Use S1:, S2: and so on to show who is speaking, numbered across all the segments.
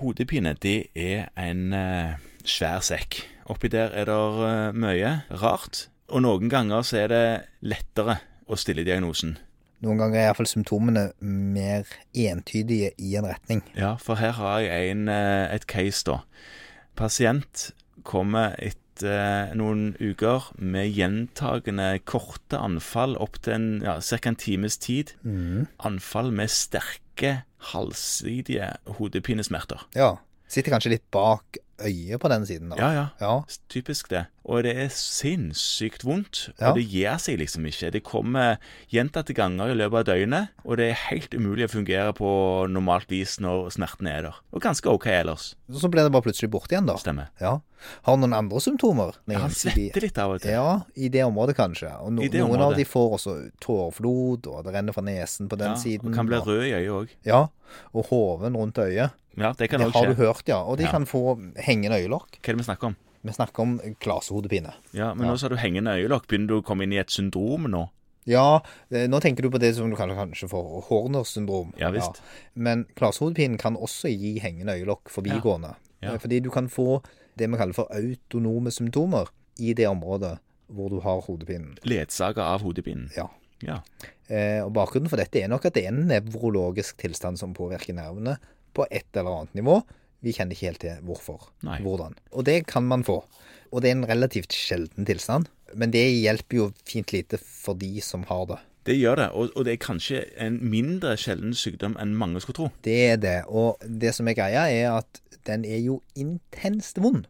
S1: Hodepine, det er en eh, svær sekk. Oppi der er det eh, mye rart, og noen ganger så er det lettere å stille diagnosen.
S2: Noen ganger er iallfall symptomene mer entydige i en retning.
S1: Ja, for her har jeg en, eh, et case, da. Pasient kommer etter noen uker med gjentagende korte anfall opptil ja, ca. en times tid. Anfall med sterke, halvsidige hodepinesmerter.
S2: Ja. Sitter kanskje litt bak øyet på den siden, da.
S1: Ja, ja.
S2: Ja.
S1: Typisk det. Og det er sinnssykt vondt.
S2: Ja.
S1: Og det gir seg liksom ikke. Det kommer gjentatte ganger i løpet av døgnet, og det er helt umulig å fungere på normalt vis når smerten er der. Og ganske OK ellers.
S2: Så blir det bare plutselig borte igjen, da.
S1: Stemmer.
S2: Ja. Har han noen andre symptomer?
S1: Ja, han
S2: Ensidig-
S1: svetter litt av og til.
S2: Ja, i det området kanskje. Og no,
S1: I det
S2: noen
S1: området.
S2: av de får også tåreflod, og det renner fra nesen på den
S1: Ja,
S2: siden.
S1: og kan bli
S2: og-
S1: rød i øyet òg.
S2: Ja, og hoven rundt øyet.
S1: Ja, det kan
S2: Det
S1: òg
S2: har
S1: skje.
S2: du hørt, ja. Og de
S1: Ja.
S2: kan få hengende øyelokk.
S1: Hva er det vi snakker om?
S2: Vi snakker om klasehodepine.
S1: Ja, Men nå sa du hengende øyelokk. Begynner du å komme inn i et syndrom nå?
S2: Ja, eh, nå tenker du på det som du kanskje, kanskje får Horners syndrom.
S1: Ja, visst.
S2: Men klasehodepinen kan også gi hengende øyelokk forbigående.
S1: Ja. Ja.
S2: Eh, Fordi du kan få det vi kaller for autonome symptomer i det området hvor du har hodepinen.
S1: Ledsaga av hodepinen.
S2: Ja.
S1: Ja.
S2: Eh, og Bakgrunnen for dette er nok at det er en nevrologisk tilstand som påvirker nervene på et eller annet nivå. Vi kjenner ikke helt til hvorfor.
S1: Nei.
S2: Hvordan. Og det kan man få. Og det er en relativt sjelden tilstand. Men det hjelper jo fint lite for de som har det.
S1: Det gjør det. Og, og det er kanskje en mindre sjelden sykdom enn mange skulle tro.
S2: Det er det. Og det som er greia, er at den er jo intenst vond.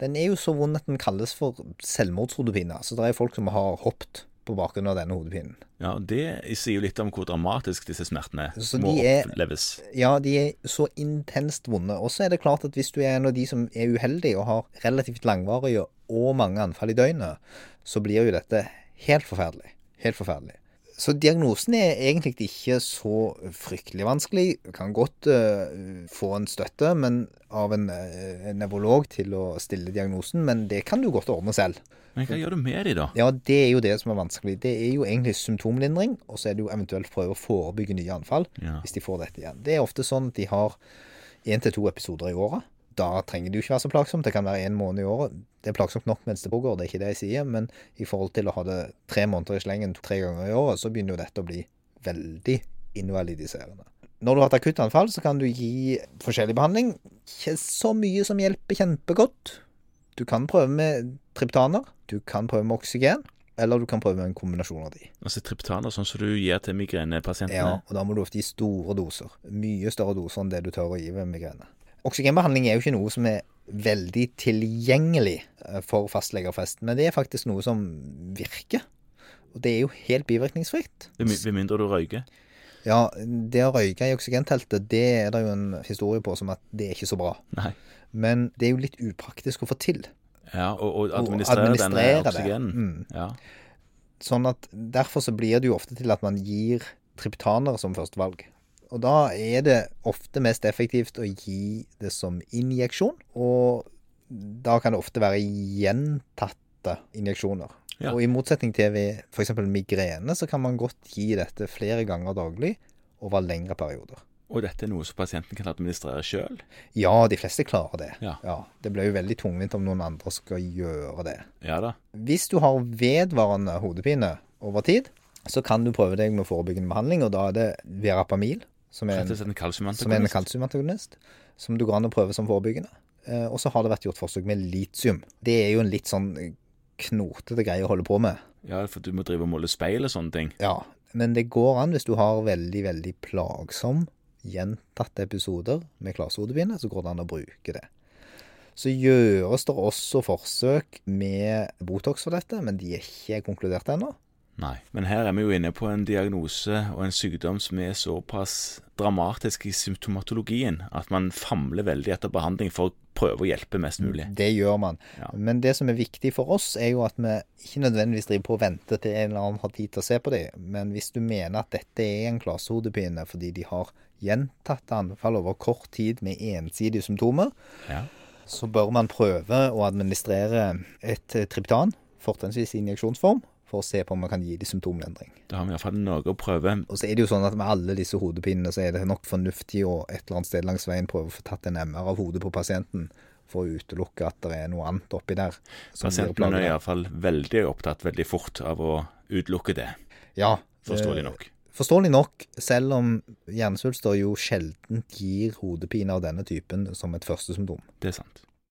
S2: Den er jo så vond at den kalles for selvmordshodepine. Så det er folk som har hoppet på bakgrunn av denne hodepinen.
S1: Ja, og Det sier jo litt om hvor dramatisk disse smertene
S2: Så
S1: må
S2: de er-
S1: oppleves.
S2: Ja, de er så intenst vonde. Og så er det klart at hvis du er en av de som er uheldig og har relativt langvarige og mange anfall i døgnet, så blir jo dette helt forferdelig. Helt forferdelig. Så diagnosen er egentlig ikke så fryktelig vanskelig. Du kan godt eh, få en støtte men, av en, eh, en nevrolog til å stille diagnosen, men det kan du godt ordne selv.
S1: Men hva gjør du med de da?
S2: Ja, det er jo det som er vanskelig. Det er jo egentlig symptomlindring, og så er det jo eventuelt prøve å forebygge nye anfall
S1: Ja.
S2: hvis de får dette igjen. Det er ofte sånn at de har én til to episoder i året. Da trenger det jo ikke være så plagsomt. Det kan være én måned i året. Det er plagsomt nok mens det pågår, det er ikke det jeg sier, men i forhold til å ha det tre måneder i slengen tre ganger i året, så begynner jo dette å bli veldig invalidiserende. Når du har et akutt anfall, så kan du gi forskjellig behandling. Ikke så mye som hjelper kjempegodt. Du kan prøve med triptaner, du kan prøve med oksygen, eller du kan prøve med en kombinasjon av de.
S1: Altså Triptaner, sånn som du gir til
S2: Ja,
S1: migrenepasientene?
S2: og da må du ofte gi store doser. Mye større doser enn det du tør å gi ved migrene. Oksygenbehandling er jo ikke noe som er veldig tilgjengelig eh, for fastlegerfest, men det er faktisk noe som virker. Og det er jo helt bivirkningsfritt.
S1: Ved mi- Ved mindre du røyker?
S2: Ja, det å røyke i oksygenteltet, det er det jo en historie på som at det er ikke så bra.
S1: Nei.
S2: Men det er jo litt upraktisk å få til.
S1: Ja, Og, og
S2: å
S1: administrere,
S2: administrere
S1: denne
S2: det.
S1: oksygenen?
S2: Mm.
S1: Ja.
S2: Sånn at derfor så blir det jo ofte til at man gir triptaner som førstevalg. Og da er det ofte mest effektivt å gi det som injeksjon, og da kan det ofte være gjentatte injeksjoner.
S1: Ja.
S2: Og i motsetning til ved f.eks. migrene, så kan man godt gi dette flere ganger daglig over lengre perioder.
S1: Og dette er noe som pasienten kan administrere sjøl?
S2: Ja, de fleste klarer det.
S1: Ja.
S2: det blir jo veldig tungvint om noen andre skal gjøre det.
S1: Ja da.
S2: Hvis du har vedvarende hodepine over tid, så kan du prøve deg med forebyggende behandling, og da er det verapamil, som er
S1: Rett og
S2: en,
S1: slett en
S2: som er en
S1: kalsiumantagonist?
S2: kalsiumantagonist, som du går an å prøve som forebyggende. Eh, Og så har det vært gjort forsøk med litium. Det er jo en litt sånn knotete greie å holde på med.
S1: Ja, for du må drive og måle speil og sånne ting.
S2: Ja, men det går an hvis du har veldig, veldig plagsom gjentatte episoder med klasehodepine, så går det an å bruke det. Så gjøres det også forsøk med Botox for dette, men de er ikke konkludert ennå.
S1: Nei. Men her er vi jo inne på en diagnose og en sykdom som er såpass dramatisk i symptomatologien at man famler veldig etter behandling for å prøve å hjelpe mest mulig.
S2: Det gjør man.
S1: Ja.
S2: Men det som er viktig for oss, er jo at vi ikke nødvendigvis driver på og venter til en eller annen har tid til å se på dem. Men hvis du mener at dette er en klasehodepine fordi de har gjentatte anfall over kort tid med ensidige symptomer,
S1: Ja.
S2: så bør man prøve å administrere et eh, triptan, fortrinnsvis i injeksjonsform, for å se på om vi kan gi dem symptomlendring.
S1: Da har vi iallfall noe å prøve.
S2: Og så er det jo sånn at med alle disse hodepinene, så er det nok fornuftig å et eller annet sted langs veien prøve å få tatt en MR av hodet på pasienten, for å utelukke at det er noe annet oppi der. som gir
S1: Pasienten er
S2: plager.
S1: iallfall veldig opptatt veldig fort av å utelukke det,
S2: Ja, eh,
S1: forståelig nok.
S2: Forståelig nok, selv om hjernesvulster jo sjelden gir hodepine av denne typen som et første symptom.
S1: Det er sant.